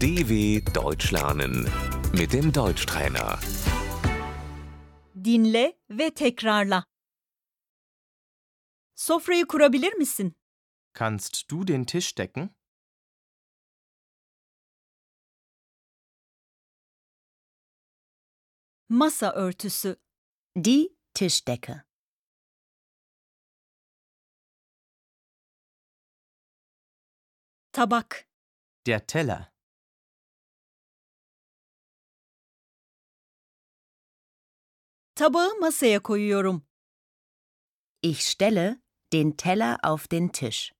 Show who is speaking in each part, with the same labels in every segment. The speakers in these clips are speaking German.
Speaker 1: DW Deutsch lernen mit dem Deutschtrainer.
Speaker 2: Dinle ve tekrarla. Sofrayı kurabilir misin?
Speaker 3: Kannst du den Tisch decken?
Speaker 2: Masa örtüsü,
Speaker 4: Die Tischdecke.
Speaker 2: tabak,
Speaker 3: Der Teller.
Speaker 2: tabağı masaya koyuyorum.
Speaker 4: Ich stelle den Teller auf den Tisch.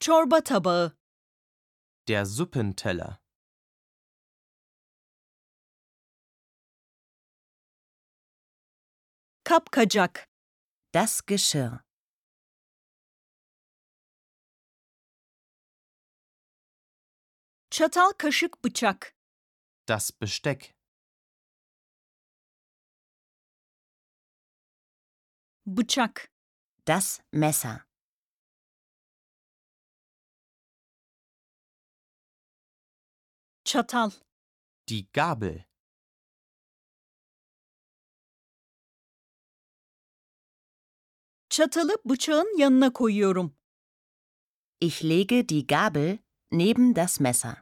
Speaker 2: Çorba tabağı,
Speaker 3: Der Suppenteller.
Speaker 2: kapkacak,
Speaker 4: Das Geschirr.
Speaker 2: çatal kaşık bıçak,
Speaker 3: Das Besteck.
Speaker 2: bıçak,
Speaker 4: Das Messer.
Speaker 2: çatal,
Speaker 3: Die Gabel.
Speaker 2: çatalı bıçağın yanına koyuyorum.
Speaker 4: Ich lege die Gabel neben das Messer.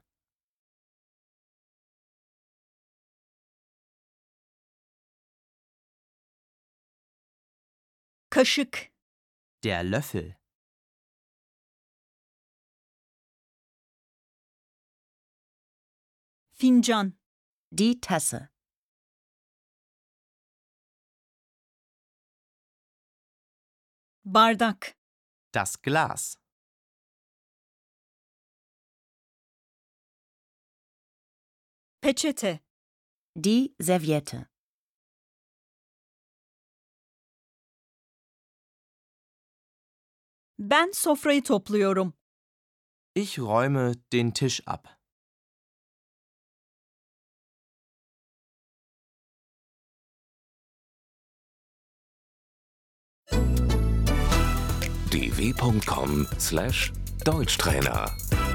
Speaker 2: Kaşık,
Speaker 3: Der Löffel.
Speaker 2: fincan,
Speaker 4: Die Tasse.
Speaker 2: bardak,
Speaker 3: Das Glas.
Speaker 2: peçete,
Speaker 4: Die Serviette.
Speaker 2: ben sofrayı topluyorum.
Speaker 3: Ich räume den Tisch ab.
Speaker 1: dw.com/deutschtrainer